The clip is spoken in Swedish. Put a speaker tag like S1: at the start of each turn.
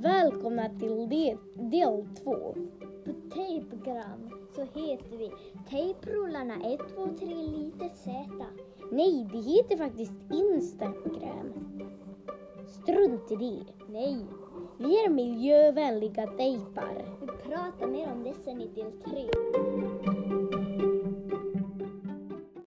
S1: välkomna till del, del två.
S2: På tejpgram så heter vi Tejprullarna 1, 2, 3 lite Z.
S1: Nej, det heter faktiskt Instagram. Strunt i det.
S2: Nej,
S1: Vi är miljövänliga tejpar.
S2: vi pratar mer om det sen i del 3.